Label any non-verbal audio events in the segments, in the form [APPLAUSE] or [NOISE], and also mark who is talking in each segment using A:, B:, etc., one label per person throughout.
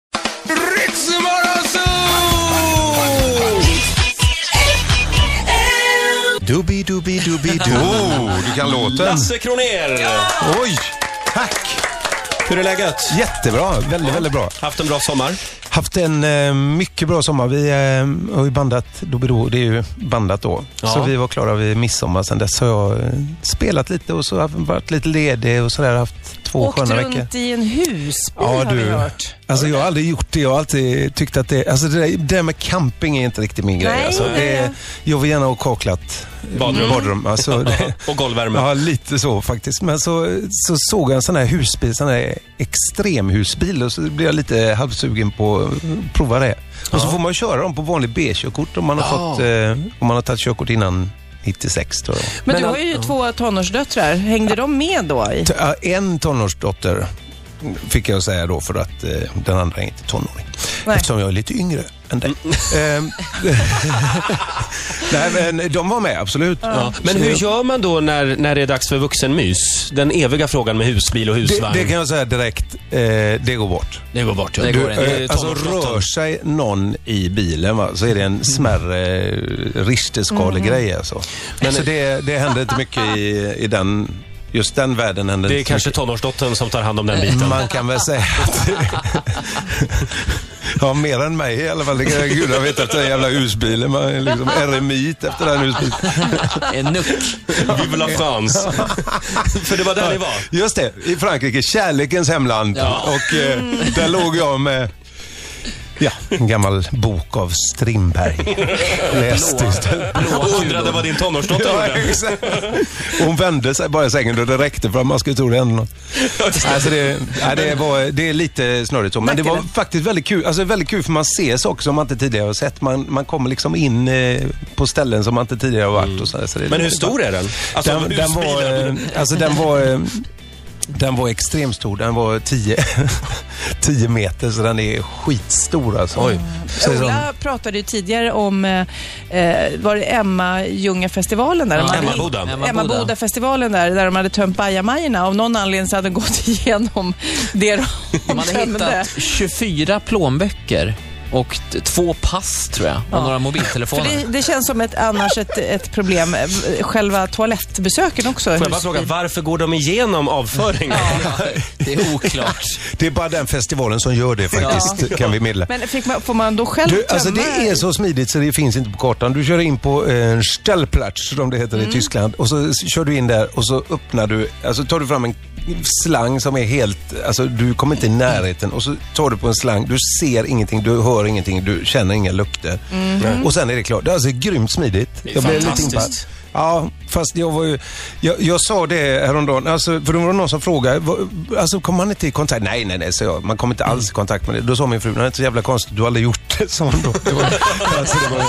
A: [LAUGHS]
B: [LAUGHS] Scooby-Dooby-Dooby-Doo.
C: Oh, du kan låten.
D: Lasse Kronér!
C: Oj, tack!
D: Hur är läget?
B: Jättebra, väldigt, väldigt bra.
D: Haft en bra sommar?
B: Haft en eh, mycket bra sommar. Vi eh, har ju bandat Doobidoo, det är ju bandat då.
D: Ja.
B: Så vi var klara vid midsommar. Sen dess har jag eh, spelat lite och så har jag varit lite ledig och sådär. Haft två
E: Åkt
B: sköna veckor.
E: runt i en husbil
B: Ja,
E: har vi
B: du.
E: hört.
B: Alltså jag har aldrig gjort det. Jag har alltid tyckt att det, alltså det där, det där med camping är inte riktigt min grej.
E: Nej,
B: alltså,
E: nej,
B: det,
E: nej.
B: jag vill gärna ha kaklat
D: Badrum.
B: badrum alltså,
D: [LAUGHS]
B: det,
D: Och golvvärme?
B: Ja, lite så faktiskt. Men så, så såg jag en sån här husbil, sån här extremhusbil och så blev jag lite halvsugen på att prova det. Och så får man ju köra dem på vanlig B-körkort om man har, fått, eh, om man har tagit körkort innan 96 tror jag.
E: Men,
D: Men
E: du
D: an-
E: har ju två tonårsdöttrar. Hängde de med då? I?
B: T- ja, En tonårsdotter fick jag säga då för att eh, den andra är inte tonåring.
E: Nej.
B: Eftersom jag är lite yngre än dig. [LAUGHS] Ehm, Nej, men de var med, absolut.
A: Ja. Men hur gör man då när, när det är dags för vuxenmys? Den eviga frågan med husbil och
B: det,
A: husvagn.
B: det kan jag säga direkt, eh, det går bort.
A: Det går bort. Ja.
F: Det
A: Du-
F: går inte.
A: eh,
B: Eh, alltså
A: tonårsdottern.
B: rör sig någon i bilen va, så är det en smärre eh, risteskalegrej alltså. Men så det, det händer inte mycket i, i den, just den världen händer
A: det är
B: inte
A: kanske tonårsdottern som tar hand om den biten.
B: Man kan väl säga att... [LAUGHS] Ja, mer än mig i alla fall. Det kan gudarna veta efter den jävla husbilen. Man är liksom eremit efter den husbilen.
F: En nuck.
A: Vive la
B: [LAUGHS]
A: France. För det var där ni var.
B: Just det, i Frankrike, kärlekens hemland. Och eh, där låg jag med ja, en gammal bok av Strindberg.
A: [LAUGHS]
B: Läst istället.
A: Och undrade vad din tonårsdotter
B: [LAUGHS] Ja,
A: gjorde.
B: exakt. Och Hon vände sig bara i sängen och det räckte för att man skulle tro det hände något. Alltså det, ja, det, var, det är lite snurrigt så, men det var faktiskt väldigt kul. Alltså väldigt kul för man ser saker som man inte tidigare har sett. Man, man kommer liksom in eh, på ställen som man inte tidigare har varit. Och så, så det
A: Men hur
B: lite-
A: stor är den? Alltså,
B: den, den, var, eh, alltså den var... eh, Den var extremt stor. Den var [LAUGHS] 10 10 meter, så den är skitstor alltså. Oj. Så det är sån-
E: Ola pratade ju tidigare om eh, eh, var det Emma Ljunga-festivalen där. De hade-
A: Emmaboda.
E: Emma Boda-festivalen där, där de hade tömt bajamajorna. Av någon anledning så hade de gått [LAUGHS] igenom det de
F: De hade
E: tömde.
F: hittat 24 plånböcker och t- två pass, tror jag, och
E: Ja.
F: några
E: För
F: mobiltelefoner.
E: det, det känns som ett, annars ett, ett problem. Eh, Själva toalettbesöken också.
A: Får jag bara fråga, varför går de igenom avföringen?
F: [LAUGHS] det är oklart.
B: Det är bara den festivalen som gör det faktiskt, kan vi meddela.
E: Men fick man, får man då själv
B: Du, alltså
E: tömma?
B: det är så smidigt så det finns inte på kartan. Du kör in på eh, Stellplatz, som det heter
E: Mm.
B: i Tyskland. Och så s- kör du in där och så öppnar du, alltså tar du fram en slang som är helt, alltså du kommer inte i närheten. Och så tar du på en slang, du ser ingenting, du hör ingenting, du känner inga lukter.
E: Mm-hmm.
B: Och sen är det klart. Det är alltså grymt smidigt.
A: är
B: Jag blev lite
A: fantastiskt.
B: impad. Ja, fast jag var ju... Jag, jag sa det häromdagen, alltså, för det var någon som frågade, vad- alltså kommer man inte i kontakt? Nej, nej, nej, så jag. Man kommer inte alls i kontakt med det. Då sa min fru, det är inte så jävla konstigt, du har aldrig gjort det, sa hon då.
A: [LAUGHS]
B: Det var, alltså, det var,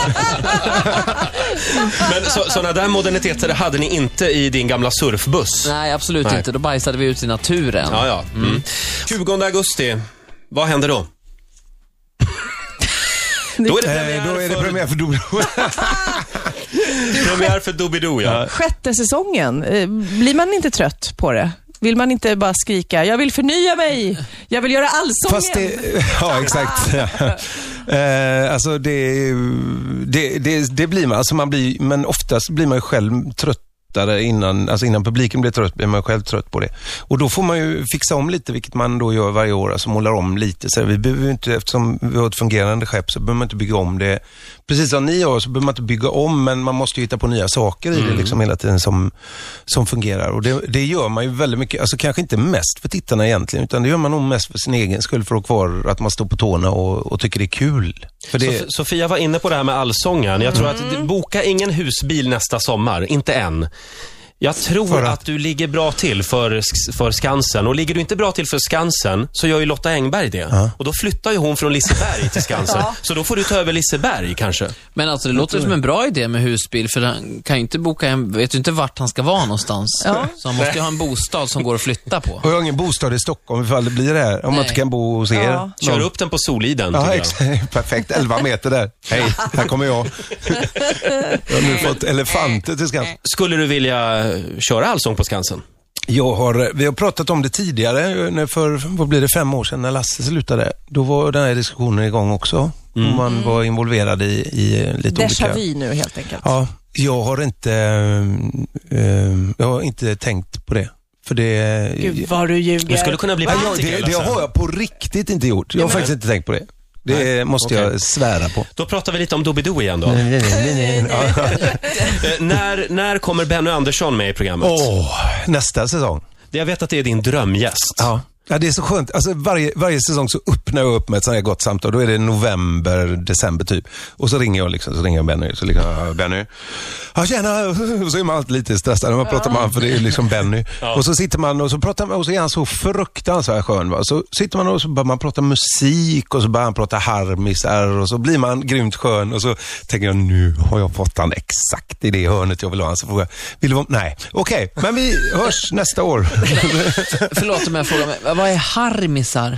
A: Men sådana där moderniteter hade ni inte i din gamla surfbuss?
F: Nej, absolut
A: Nej.
F: inte. Då bajsade vi ut i naturen.
A: Ja, ja. Mm. 20 augusti, vad händer då? då är det
B: eh, då är det
A: premiär
B: premiär för Dodo.
A: för, [LAUGHS] premiär för Doobidoo, ja.
E: Sjätte säsongen, eh, blir man inte trött på det? Vill man inte bara skrika, jag vill förnya mig, jag vill göra allsången.
B: Fast det, [LAUGHS] ja, exakt. Eh, alltså det, det, det, det blir man. Alltså man blir, men oftast blir man ju själv tröttare innan, alltså innan publiken blir trött blir man själv trött på det. Och då får man ju fixa om lite, vilket man då gör varje år, alltså målar om lite. Så vi behöver ju inte, eftersom vi har ett fungerande skepp så behöver man inte bygga om det. Precis som ni gör så behöver man inte bygga om, men man måste ju hitta på nya saker i det liksom hela tiden som, som fungerar. Och det, det gör man ju väldigt mycket, alltså kanske inte mest för tittarna egentligen, utan det gör man nog mest för sin egen skull, för att ha kvar att man står på tårna och, och tycker det är kul. För det,
A: Sof- Sofia var inne på det här med allsången. Jag tror att, boka ingen husbil nästa sommar, inte än. Jag tror
B: För
A: att...
B: att?
A: du ligger bra till för, Sk- för Skansen. Och ligger du inte bra till för Skansen, så gör ju Lotta Engberg det. Och då flyttar ju hon från Liseberg till Skansen. Så då får du ta över Liseberg kanske.
F: Men alltså, det låter som en bra idé med husbil, för han kan ju inte boka en... Vet ju inte vart han ska vara någonstans.
E: Ja.
F: Så han måste ju ha en bostad som går att flytta på.
B: Och jag har ingen bostad i Stockholm ifall det blir det här. Om man
F: Nej.
B: inte kan bo hos er.
E: Ja.
A: Kör
B: Någon-
A: upp den på Soliden,
B: Ja,
A: tycker jag.
B: exakt. [LAUGHS] Perfekt. 11 meter där. Hej, här kommer jag. Jag har nu fått elefanter till skans.
A: Skulle du vilja eh, köra Allsång på Skansen?
B: Jag har, eh, vi har pratat om det tidigare, eh, när för vad blir det, fem år sedan när Lasse slutade. Då var den här diskussionen igång också. Och Man var involverad i, i lite
E: Déjà
B: olika...
E: vu nu helt enkelt.
B: Ja, Jag har inte, ehm, ehm, jag har inte tänkt på det. För det...
E: Gud vad du ljuger.
A: Du skulle kunna bli
B: Nej, jag,
A: politiker.
B: det, det
A: Lasse.
B: har jag på riktigt inte gjort. Jag har faktiskt inte tänkt på det. Det måste
A: okej.
B: jag svära på.
A: Då pratar vi lite om Doobidoo igen då. [LAUGHS] Eh, när, när kommer Benny Andersson med i programmet?
B: Åh, nästa säsong.
A: Det- Jag vet att det är din drömgäst.
B: Ja. Ja, det är så skönt. Alltså varje, varje säsong så öppnar jag upp med ett sånt här gott samtal. Då är det november, december typ. Och så ringer jag liksom, så ringer jag Benny. Så liksom, "Ja, Benny. Ja, tjena. [LAUGHS] Och så är man alltid lite stressad när man pratar med honom, för det är liksom Benny. Och så sitter man och så pratar man, och så är han så fruktansvärt skön. Va? Så sitter man och så börjar man prata musik och så börjar han prata harmisar och så blir man grymt skön. Och så tänker jag, nu har jag fått han exakt i det hörnet jag vill ha han. Så frågar jag, vill du vara Nej, okej, men vi hörs nästa år.
F: Förlåt om jag frågar, men vad är harmisar?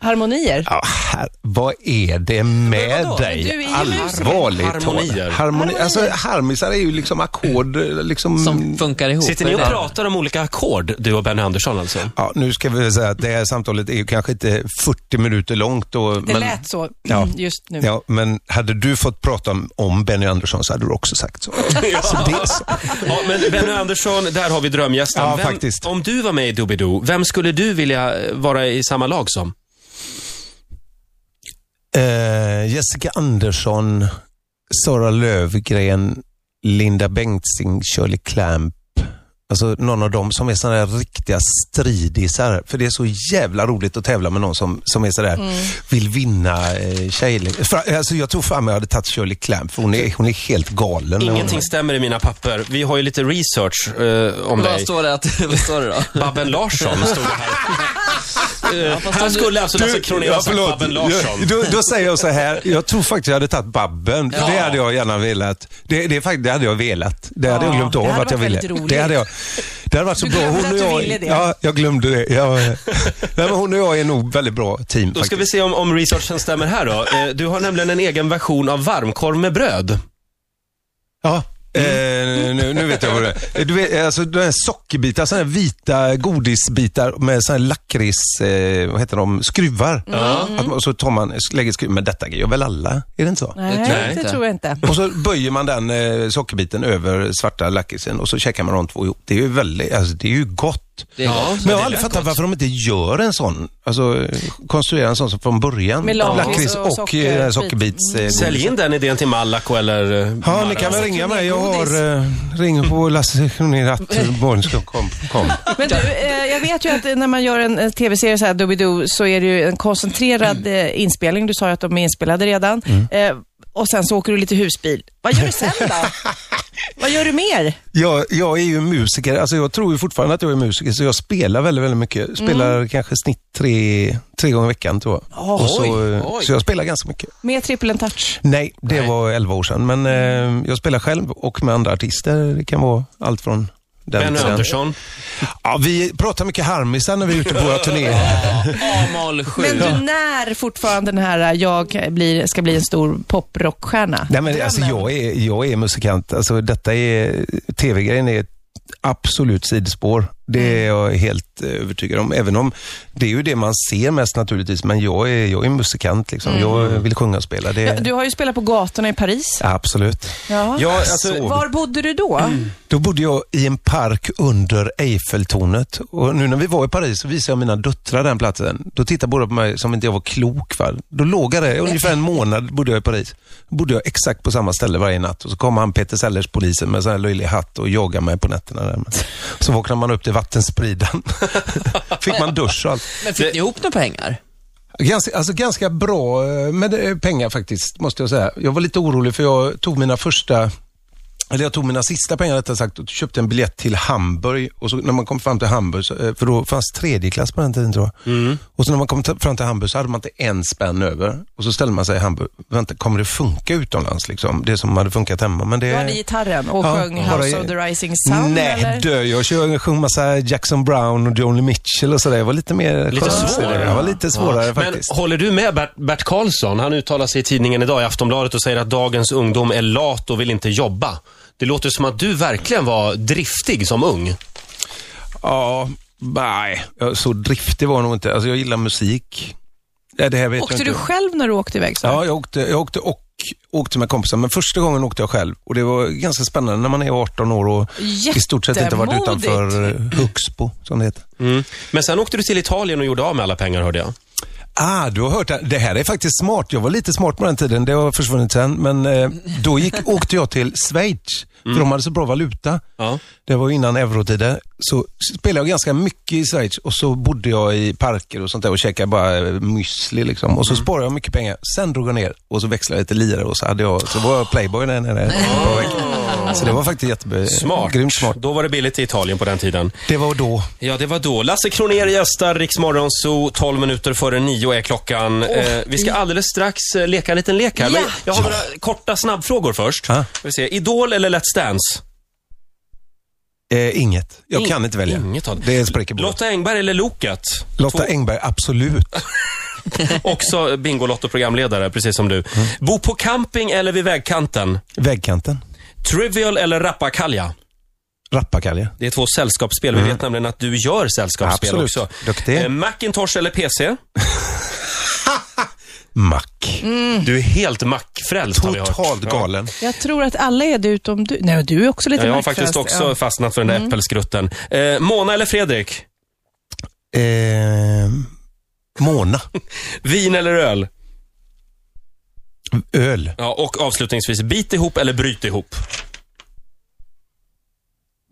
E: Harmonier.
B: Ja, här, vad är det med
E: vadå?
B: dig?
E: Du är ju
B: Allvarligt
A: musiker. Harmonier.
B: Harmonier. Harmoni, alltså, harmisar är ju liksom ackord, liksom...
F: Som funkar ihop?
A: Mm. Sitter ni och
F: Vad är det?
A: pratar om olika ackord, du och Benny Andersson alltså?
B: Ja, nu ska vi säga att det här samtalet är ju kanske inte 40 minuter långt. Och,
E: Det
B: men,
E: lät så
B: Ja.
E: just nu.
B: Ja, men hade du fått prata om, om Benny Andersson så hade du också sagt så. så, det, så.
A: Ja, men Benny Andersson, där har vi drömgästen.
B: Ja,
A: Vem-
B: faktiskt.
A: Om du var med i Doobidoo, vem skulle du vilja eh, vara i samma lag som?
B: Eh, Jessica Andersson, Sara Lövgren, Linda Bengtzing, Shirley Clamp. Alltså någon av dem som är sådana där riktiga stridisar. För det är så jävla roligt att tävla med någon som, som är sådär, vill vinna eh, tjej. För, alltså, jag tror fan jag hade tagit Shirley Clamp, för hon är, hon är helt galen. när hon-
A: Ingenting stämmer i mina papper. Vi har ju lite research eh, om
F: Vad
A: dig.
F: står det, att, [LAUGHS] vad står det då?
A: Babben Larsson stod det
F: [LAUGHS]
A: här. Eh, här skulle alltså Lasse Kronér ha sagt Babben Larsson.
B: Jag, då, då säger jag så här, jag tror faktiskt jag hade tagit Babben. för Det hade jag gärna velat. Det, det, är fakt- det hade jag velat. Det
E: Ja,
B: hade jag glömt
E: det
B: av
E: hade
B: att jag
E: varit
B: ville.
E: väldigt roligt.
B: Det hade, jag, det hade varit så
E: Du
B: bra.
E: glömde
B: Hon och
E: att du
B: jag,
E: ville det.
B: Ja, jag glömde det. Jag, nej, men hon och jag är nog väldigt bra team
A: Då ska
B: faktiskt.
A: vi se om, om researchen stämmer här då. Eh, du har nämligen en egen version av varmkorv med bröd.
B: Ja.
E: Mm.
B: Eh, nu, nu vet jag vad det är. Du vet, alltså, de här sockerbitar, sådana här vita godisbitar med sådana här lakrits, eh, vad heter de, skruvar. Att man, och så tar man, lägger skruvar, men detta gör väl alla? Är det inte så?
E: Nej,
F: Det tror jag
E: det
F: inte.
E: tror jag inte.
B: Och så böjer man den eh, sockerbiten över svarta lakritsen och så käkar man de två ihop. Det är ju väldigt, alltså det är ju gott.
F: Det är gott.
B: Men jag
F: Det
B: har aldrig
F: lät
B: fattat
F: gott.
B: varför de inte gör en sån. Alltså eh, konstruerar en sån som från början.
E: Med lakrits och
B: och,
E: socker-
B: eh, sockerbits. Eh,
A: Sälj in den idén till Malaco eller... eh,
B: Ja, ni
A: Mara.
B: kan väl ringa mig. Jag
E: Godis.
B: har... Eh, ring på Lasse Kronér att barn ska kom, kom.
E: Men du, eh, jag vet ju att eh, när man gör en eh, tv-serie så här, Doobidoo, så är det ju en koncentrerad
B: Mm.
E: eh, inspelning. Du sa ju att de är inspelade redan. Eh, och sen så åker du lite husbil. Vad gör du sen
B: [LAUGHS]
E: då? Vad gör du mer?
B: Jag, jag är ju musiker. Alltså jag tror ju fortfarande att jag är musiker, så jag spelar väldigt, väldigt mycket. Spelar kanske snitt tre, tre gånger i veckan, tror jag. och så,
F: oj, oj.
B: så jag spelar ganska mycket.
E: Mer trippel än touch?
B: Nej, det var 11 år sedan. Men eh, jag spelar själv och med andra artister. Det kan vara allt från den
A: Benny
B: till den.
A: Andersson.
B: Ja, vi pratar mycket harmisar när vi är ute på våra turnéer.
F: A-moll-sju.
E: Men du när fortfarande den här, eh, jag blir, ska bli en stor poprockstjärna?
B: Nej, men alltså, jag, är, jag är musikant. Alltså, detta är, tv-grejen är ett absolut sidospår. Det är jag helt eh, övertygad om. Även om det är ju det man ser mest naturligtvis. Men jag är, jag är musikant. Liksom. Jag vill sjunga och spela. Det,
E: Ja, du har ju spelat på gatorna i Paris.
B: Absolut.
E: Ja.
A: Ja, alltså,
B: Så-
E: Var bodde du då?
B: Då bodde jag i en park under Eiffeltornet. Och nu när vi var i Paris så visade jag mina döttrar den platsen. Då tittade båda på mig som inte jag var klok. Va? Då låg jag där, ungefär en månad bodde jag i Paris. Bodde jag exakt på samma ställe varje natt. Och så kom han, Peter Sellers, polisen med sån här löjlig hatt och jagade mig på nätterna. Där. Men Så vaknade man upp till vattenspridan. [LAUGHS] Fick man dusch och allt.
F: Men fick ni ihop några pengar?
B: Ganska, alltså ganska bra eh, med eh, pengar faktiskt, måste jag säga. Jag var lite orolig för jag tog mina första, eller jag tog mina sista pengar rättare sagt och köpte en biljett till Hamburg. Och så när man kom fram till Hamburg, så, eh, för då fanns tredje klass på den tiden tror jag.
A: Mm.
B: Och så när man kom ta- fram till Hamburg så hade man inte en spänn över. Och så ställde man sig i Hamburg, vänta, kommer det funka utomlands liksom? Det som hade funkat hemma. Men det...
E: Du hade gitarren och
B: Ja,
E: sjöng
B: bara
E: House
B: i-
E: of the Rising Sun,
B: Nej,
E: eller?
B: dö. Jag kör- jag sjöng massa Jackson Brown och Joni Mitchell och sådär. Jag var lite mer...
A: Lite svårare.
B: Jag var lite svårare
A: Ja.
B: faktiskt.
A: Men håller du med Bert, Bert Karlsson? Han uttalar sig i tidningen idag i Aftonbladet och säger att dagens ungdom är lat och vill inte jobba. Det låter som att du verkligen var driftig som ung.
B: Ja, nej. Jag- Så driftig var jag nog inte. Alltså jag gillar musik. Ja, det här vet jag
E: Åkte
B: inte.
E: du själv när du åkte iväg? Så?
B: Ja, jag åkte, jag åkte och åkte med kompisar, men första gången åkte jag själv. Och det var ganska spännande när man är 18 år och i stort sett inte varit
E: Jättemodigt.
B: utanför eh, Huxbo, som det heter.
A: Mm. Men sen åkte du till Italien och gjorde av med alla pengar hörde jag.
B: Ah, du har hört det. Det här är faktiskt smart. Jag var lite smart på den tiden. Det har försvunnit sen. Men eh, då gick, åkte jag till Schweiz, för de hade så bra valuta.
A: Ja.
B: Det var innan eurotider. Så spelade jag ganska mycket i Schweiz och så bodde jag i parker och sånt där och käkade bara eh, müsli liksom. Och
A: Mm.
B: så sparade jag mycket pengar. Sen drog jag ner och så växlade jag lite lira och så, hade jag, så var jag playboy där nere. ett par veckor. Så det var faktiskt jättebe...
A: Smart.
B: Grymt smart.
A: Då var det billigt i Italien på den tiden.
B: Det var då.
A: Ja, det var då. Lasse Kronér gästar Rix Morgon Zoo. 12 minuter före nio är klockan. eh, vi ska alldeles strax eh, leka en liten lek här. Men
E: Ja.
A: jag har några korta snabbfrågor först.
B: Ja.
A: Vi se. Idol eller Let's Dance?
B: Eh, inget. Jag kan inte välja.
A: Inget av det.
B: Det spricker båda.
A: Lotta Engberg eller Loket?
B: Lotta Engberg, absolut.
A: Också Bingolotto-programledare, precis som du.
B: Mm.
A: Bo på camping eller vid vägkanten?
B: Vägkanten.
A: Trivial eller Rappakalja?
B: Rappakalja.
A: Det är två sällskapsspel. Vi vet nämligen att du gör sällskapsspel
B: Mm. Absolut.
A: också.
B: Duktig.
A: Eh, Macintosh eller PC?
E: Mm.
B: Mack.
A: Du är helt mackfrälst Mm. har vi hört.
B: Totalt
A: Ja.
B: galen.
E: Jag tror att alla är det utom du. Nej, men du är också lite
A: Ja, jag har
E: maktfrälst.
A: faktiskt också fastnat för den där äppelskrutten. Eh, Mona eller Fredrik?
B: Eh, Mona.
A: Vin eller öl?
B: Öl.
A: Ja, och avslutningsvis, bit ihop eller bryt ihop?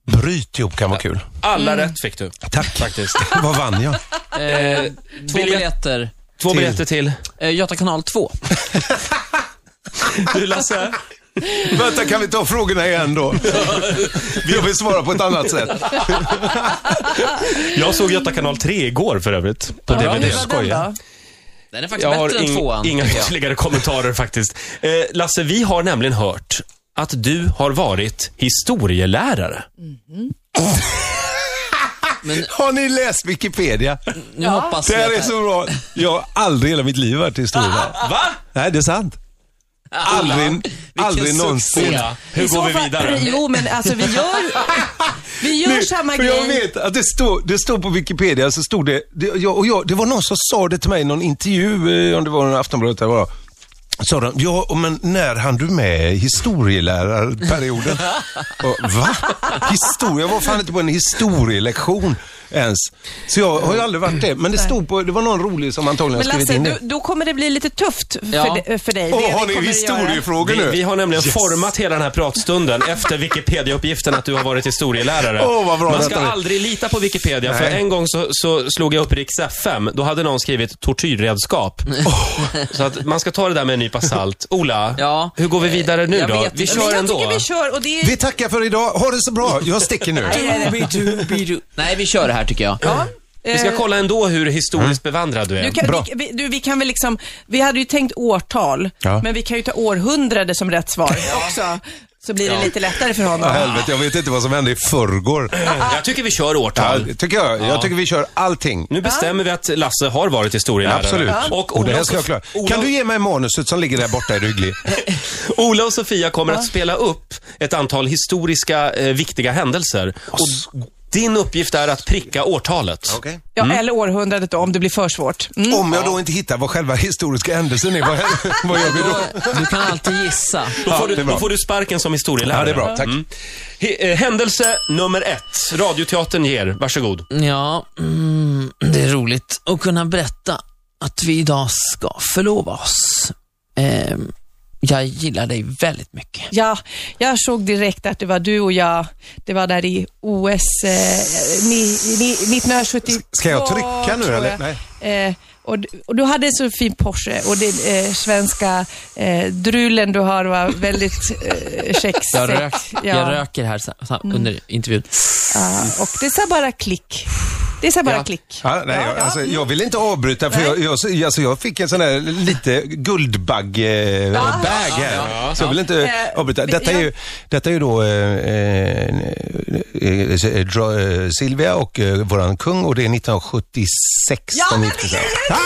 B: Bryt ihop kan vara kul.
A: Alla rätt fick du. Tack. Faktiskt.
B: [LAUGHS] Vad vann jag?
F: Eh, två
A: biljett-
F: biljetter.
A: Två
B: Till.
A: biljetter till.
F: Eh, Göta kanal 2.
A: Du Lasse,
B: Vänta, kan vi ta frågorna igen då? Jag vill svara på ett annat sätt.
A: jag såg Göta kanal 3 igår för övrigt. På
E: Ja, hur
A: DVD.
E: var den då?
F: Den är faktiskt
A: Jag
F: bättre
A: har
F: än tvåan.
A: ing- inga
F: tycker jag.
A: ytterligare kommentarer faktiskt. Eh, Lasse, vi har nämligen hört att du har varit historielärare.
B: Har ni läst Wikipedia?
F: Nu hoppas
B: Det
F: vi
B: här är
F: att...
B: så bra. Jag har aldrig i hela mitt liv varit historia.
A: Va?
B: Nej, det är sant. Aldrig, aldrig
F: succé.
B: någonsin.
A: Ja. Hur
E: I så
A: går vi
E: fall-
A: vidare?
E: [LAUGHS] Jo, men alltså vi
B: [LAUGHS]
E: gör, vi gör samma
B: för
E: grej.
B: jag vet att det står det stod på Wikipedia, så stod det, det, jag, och jag, det var någon som sa det till mig i någon intervju, eh, om det var en Aftonbladet eller vad det var. Sa de, ja men när hann du med
E: [LAUGHS]
B: historielärarperioden? och, va? Historia? Jag var fan inte på en historielektion ens. Så jag har ju aldrig varit det. Men det stod på, det var någon rolig som antagligen har
E: Men
B: skrivit
E: Lasse,
B: in det.
E: nu, då kommer det bli lite tufft för,
F: Ja.
E: di- för dig.
B: Åh,
E: Det vi
B: har ni
E: kommer att göra.
B: historiefrågor
A: Vi,
B: nu?
A: vi har nämligen format hela den här pratstunden efter Wikipedia-uppgiften att du har varit historielärare.
B: Åh, vad bra
A: Man ska
B: detta är.
A: aldrig lita på Wikipedia, för
B: Nej.
A: en gång så, så slog jag upp Riks FM. Då hade någon skrivit tortyrredskap. Så att man ska ta det där med en nypa salt. Ola,
F: Ja.
A: hur går vi vidare nu
F: Jag
A: då?
F: vet
A: Vi
F: inte.
A: kör
E: Men jag
A: ändå.
E: tycker vi kör och det är...
B: Vi tackar för idag. Ha det så bra. Jag
E: [LAUGHS]
B: sticker nu.
F: Nej, vi kör det här tycker jag.
E: Ja.
A: Vi ska kolla ändå hur historiskt
B: Mm.
A: bevandrad du är.
E: Du kan,
B: Bra.
E: vi, vi, du, vi kan väl liksom, vi hade ju tänkt årtal,
B: Ja.
E: men vi kan ju ta århundrade som rätt svar också. Så blir det lite lättare för
B: Ja,
E: honom.
B: helvete, jag vet inte vad som hände i förrgår.
A: Jag tycker vi kör
B: Ja,
A: årtal.
B: det tycker jag. Jag tycker vi kör allting.
A: Nu bestämmer vi att Lasse har varit historielärare.
B: Absolut.
A: Och
B: Och det
A: Ola
B: här
A: och,
B: ska jag
A: Sof-
B: klara.
A: Ola,
B: Kan du ge mig manuset som ligger där borta
E: [LAUGHS]
B: i Rygli?
A: Ola och Sofia kommer att spela upp ett antal historiska eh, viktiga händelser.
B: Alltså.
A: Och din uppgift är att pricka årtalet.
E: Ja,
B: Mm.
E: Eller århundradet då, om det blir för svårt. Mm.
B: Om jag då inte hittar vad själva [LAUGHS] historiska händelsen är, vad, vad [LAUGHS] gör vi då?
F: Du kan alltid gissa.
A: Då
B: Ja,
A: får,
B: det
A: du,
B: är bra.
A: då får du sparken som historielärare.
B: Ja, det är bra. Tack.
A: He- eh, Händelse nummer ett. Radioteatern ger. Varsågod.
F: Ja, mm, det är roligt att kunna berätta att vi idag ska förlova oss. Ehm, jag gillar dig väldigt mycket.
E: Ja, jag såg direkt att det var du och jag. Det var där i OS eh, ni, ni, 1972.
B: Ska jag trycka nu,
E: tror jag.
B: eller? Nej.
E: Eh, och, d- och du hade en så fin Porsche och det eh, svenska eh, drulen du har var väldigt
F: [LAUGHS]
E: eh, check.
F: Jag, rök,
E: Ja.
F: jag röker här sa- sa- under intervjun.
E: Ja, och det sa bara klick. Det sa bara
F: Ja.
E: klick.
B: Ja, nej, jag, alltså, jag vill inte avbryta för jag, jag, alltså, jag fick en sån här lite guldbagg-bag här. Så jag vill inte
E: Eh,
B: avbryta.
E: vi-
B: Detta är
E: ja.
B: ju, detta är ju då eh, eh, eh, eh, dra- eh, Silvia och eh, våran kung och det är 1976 de gifte sig. Ah!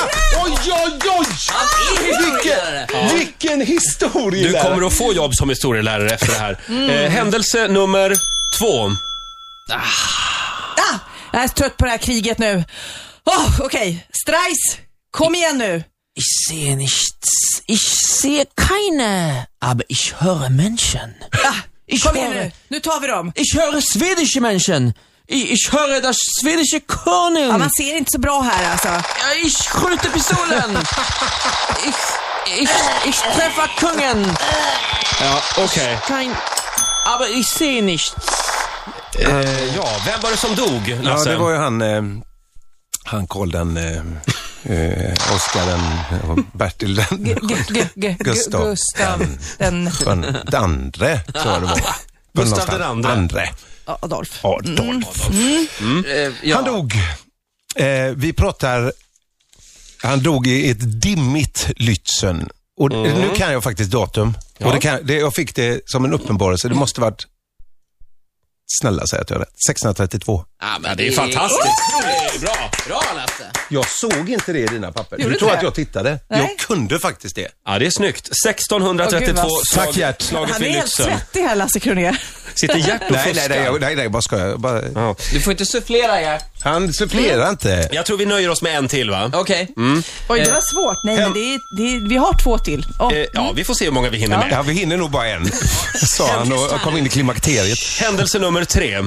B: Oj, oj, oj! Vilken, vilken
A: Du
B: historielärare!
A: kommer att få jobb som historielärare efter det
B: [LAUGHS]
A: här.
B: Mm.
A: Eh, händelse nummer två.
E: Ah, jag är så trött på det här kriget nu. Oh, Okej, Streis, kom igen nu.
F: Ich sehe nichts, Ich sehe keine, aber ich höre Menschen. ich
E: Kom igen nu, nu tar vi dem.
F: Ich höre schwedische Menschen. Ich, ich höre das schwedische König.
E: Ja, man ser inte så bra här alltså.
F: Ja, ich skjuter [LAUGHS] pistolen. ich, ich, ich träffer kungen.
D: Ja, okej.
F: Kein, aber ich sehe nichts.
A: Eh, ja, vem var det som dog,
B: Ja,
A: Lasse?
B: det var ju han, eh, han Karl den, eh, eh, Oscar den, eh, Bertil den,
E: G- g- g-
B: Gustav.
E: Gustav den
B: den, den andre, tror jag
E: [LAUGHS]
B: det var.
A: Gustav den andre.
B: andre.
E: Adolf.
B: Adolf.
E: Mm.
B: Mm. Han dog. Eh, vi pratar, han dog i ett dimmigt Lützen. Och
E: Mm.
B: nu kan jag faktiskt datum. Och det kan, det, jag fick det som en uppenbarelse.
E: Mm.
B: Det måste varit, snälla säg att jag har rätt, 1632.
F: Ja, men
D: Det är fantastiskt. Det är bra.
F: Bra Lasse.
B: Jag såg inte det i dina papper.
E: Gjorde
B: du
E: du
B: tror
E: inte
B: att
E: det?
B: jag tittade.
E: Nej.
B: Jag kunde faktiskt det.
A: Ja, det är snyggt.
E: Åh, gud,
A: 1632,
E: vad-
A: slag-
B: Tack, Gert.
A: slaget
E: Han är
A: vid
E: helt
A: Lützen.
E: svettig här, Lasse Kronér.
A: Sitter Gert och
B: Nej, nej,
A: fuskar.
B: nej, jag- nej, nej, bara skojar. Jag Bara...
A: Ja.
F: Du får inte sufflera Gert.
B: Han supplerar
E: Mm.
B: inte.
A: Jag tror vi nöjer oss med en till, va?
F: Okej.
E: Oj, det var svårt. Nej, men det är, det är, vi har två till. Åh.
A: Eh, ja, vi får se hur många vi hinner med.
B: Ja, vi hinner nog bara en, sa han och kom in i klimakteriet.
A: Händelse nummer tre.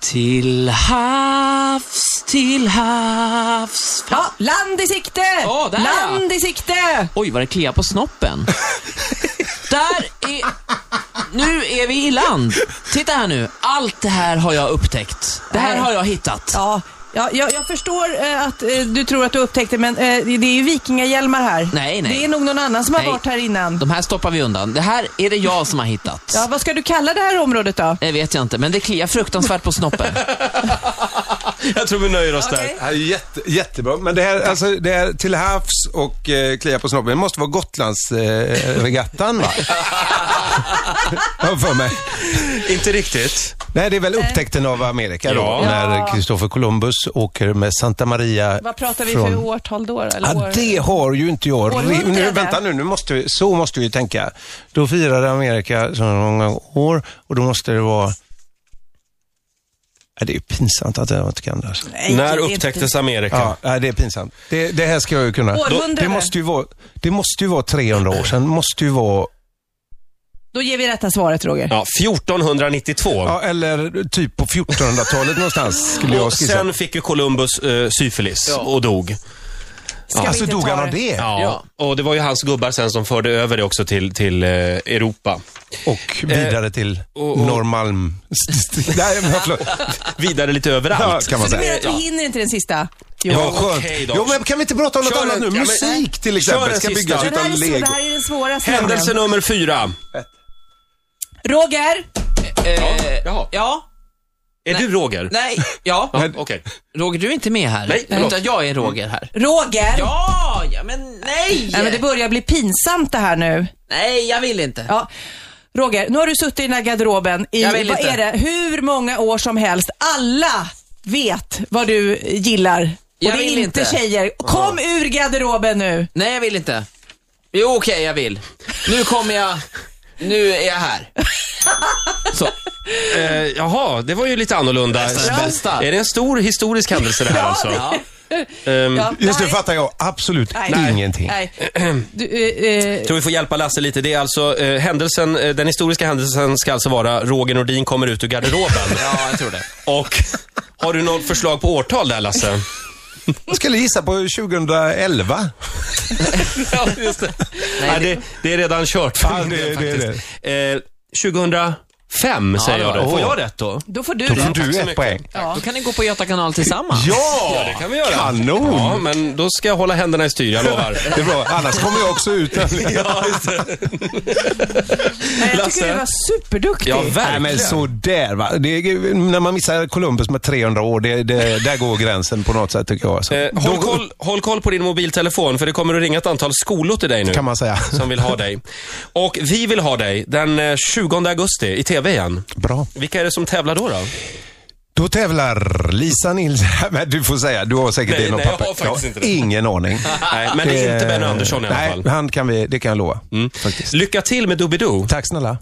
F: Till havs, till havs. Fan.
E: Ja, land i sikte!
F: Åh, där, ja.
E: land i sikte!
F: Oj, vad det kliar på snoppen. Där är... Nu är vi i land. Titta här nu. Allt det här har jag upptäckt. Det här
E: Nej.
F: har jag hittat.
E: Ja, ja jag, jag förstår eh, att eh, du tror att du upptäckte, men eh, det är ju vikingahjälmar här.
F: Nej, nej.
E: Det är nog någon annan som har
F: Nej.
E: varit här innan.
F: De här stoppar vi undan. Det här är det jag som har hittat.
E: Ja, vad ska du kalla det här området då?
F: Det vet jag inte, men det kliar fruktansvärt
E: [LAUGHS]
F: på snoppen.
A: Jag tror vi nöjer oss där.
E: Okej.
B: Ja, jätte, jättebra, men det här, alltså, det här till havs och eh, klia på snoppen, det måste vara Gotlandsregattan eh, regattan,
E: [LAUGHS]
B: va? Har jag för mig.
A: Inte riktigt.
B: Nej, det är väl upptäckten av Amerika då,
A: Ja.
B: när Kristoffer Columbus åker med Santa Maria
E: Vad pratar vi
B: från...
E: för årtal då? då? Eller
B: Ja,
E: år?
B: det har ju inte jag. Re-
E: Århundrade.
B: Nu, vänta nu, nu måste vi, så måste vi ju tänka. Då firade Amerika så många år och då måste det vara... Ja, det är ju pinsamt att jag inte kan det. Alltså.
E: Nej,
A: När
E: det är inte-
A: upptäcktes Amerika?
B: Ja, nej, det är pinsamt. Det, det här ska jag ju kunna.
E: Århundrade.
B: Det måste ju vara, det måste ju vara 300 år sedan. måste ju vara,
E: Då ger vi rätta svaret, Roger.
A: Ja, 1492.
B: ja, eller typ på 1400-talet någonstans skulle jag
A: och
B: skissa.
A: sen fick ju Columbus eh, syfilis
F: Ja.
A: och dog.
E: Ska vi
B: alltså
E: inte
B: dog
E: ta
B: han av
E: det?
B: det?
A: Ja. Och det var ju hans gubbar sen som förde över det också till, till eh, Europa.
B: Och vidare till
A: Eh, och- och-
B: Norrmalm. [LAUGHS] nej, men förlåt.
A: Vidare lite överallt.
B: Ja, kan man
E: Så
B: säga.
E: du menar att
A: Ja.
E: vi hinner inte den sista? Jo.
B: Ja, skönt.
A: okej då.
B: Jo, men kan vi inte prata om något
A: Kör
B: annat
A: en-
B: nu?
A: ja, men-
B: Musik till
A: Kör
B: exempel
A: den
B: ska
A: sista.
B: byggas
E: Den här
B: utan
E: är svår,
B: lego.
E: det här är den svåraste.
A: Händelse
E: nämligen.
A: nummer fyra.
E: Roger!
F: Eh,
A: jaha.
F: ja,
A: Är du Roger?
F: nej, ja.
A: Ja, Okej.
F: Roger, du är inte med här.
A: Nej, förlåt.
F: Utan jag är Roger här.
E: Roger!
F: Ja, ja men nej!
E: Nej, men det börjar bli pinsamt det här nu.
F: Nej, jag vill inte.
E: Ja. Roger, nu har du suttit i den här garderoben i,
F: Jag
E: vad
F: vill inte.
E: är det, hur många år som helst. Alla vet vad du gillar. Och
F: Jag
E: det är
F: vill
E: inte
F: inte.
E: tjejer. Kom ur garderoben nu.
F: Nej, jag vill inte. Jo, okej, jag vill. Nu kommer jag. Nu är jag här. Så.
A: Eh, jaha, det var ju lite annorlunda.
F: Nästan bästa.
A: Är det en stor historisk händelse det här alltså?
E: [LAUGHS]
F: Ja. Mm.
A: Ehm,
E: Ja,
B: Just nu
E: nej,
B: fattar jag absolut
E: Nej.
B: ingenting.
E: Nej. Du, eh, eh,
A: Jag tror vi får hjälpa Lasse lite. Det är alltså eh, händelsen, eh, den historiska händelsen ska alltså vara Roger Nordin kommer ut ur garderoben.
F: Ja, jag tror det.
A: Och har du något förslag på årtal där Lasse?
B: Jag skulle gissa på 2011.
A: ja, just det. Nej, det, det är redan kört för
B: Ja,
A: min
B: det-
A: [LAUGHS] del
B: det är
A: faktiskt. Eh, 2005 säger
F: det
A: jag
F: var
A: då.
F: det.
A: Får jag rätt då?
E: då får du
B: Då får
E: det.
B: du ett
A: mycket.
B: poäng.
E: Ja.
F: Då kan ni gå på Göta kanal tillsammans.
B: Ja,
A: [LAUGHS] Ja, det kan vi göra.
B: Kanon!
A: Ja, men då ska jag hålla händerna i styr, jag
B: [LAUGHS]
A: lovar.
B: Det är bra, annars kommer jag också ut.
A: ja, just det.
E: Nej, jag
A: Lasse.
E: tycker du var superduktig.
A: Ja, verkligen.
B: Nej men sådär va. Det är, när man missar Columbus med 300 år, det, det, där går gränsen på något sätt tycker jag. Så.
A: Eh, håll, koll, håll koll på din mobiltelefon, för det kommer att ringa ett antal skolor till dig nu.
B: Kan man säga.
A: Som vill ha dig. Och vi vill ha dig den eh, 20 augusti i TV igen.
B: Bra.
A: Vilka är det som tävlar då? då?
B: Då tävlar Lisa Nilsson. [LAUGHS] Men du får säga, du har säkert
A: Nej,
B: det i något
A: nej, jag
B: papper.
A: har faktiskt inte det.
B: Ingen aning.
A: [LAUGHS] Nej, men det är inte Benny Andersson i alla
B: Eh, nej,
A: fall. Mm.
B: Han kan vi, det kan jag lova. Faktiskt.
A: Lycka till med Doobidoo.
B: Tack snälla.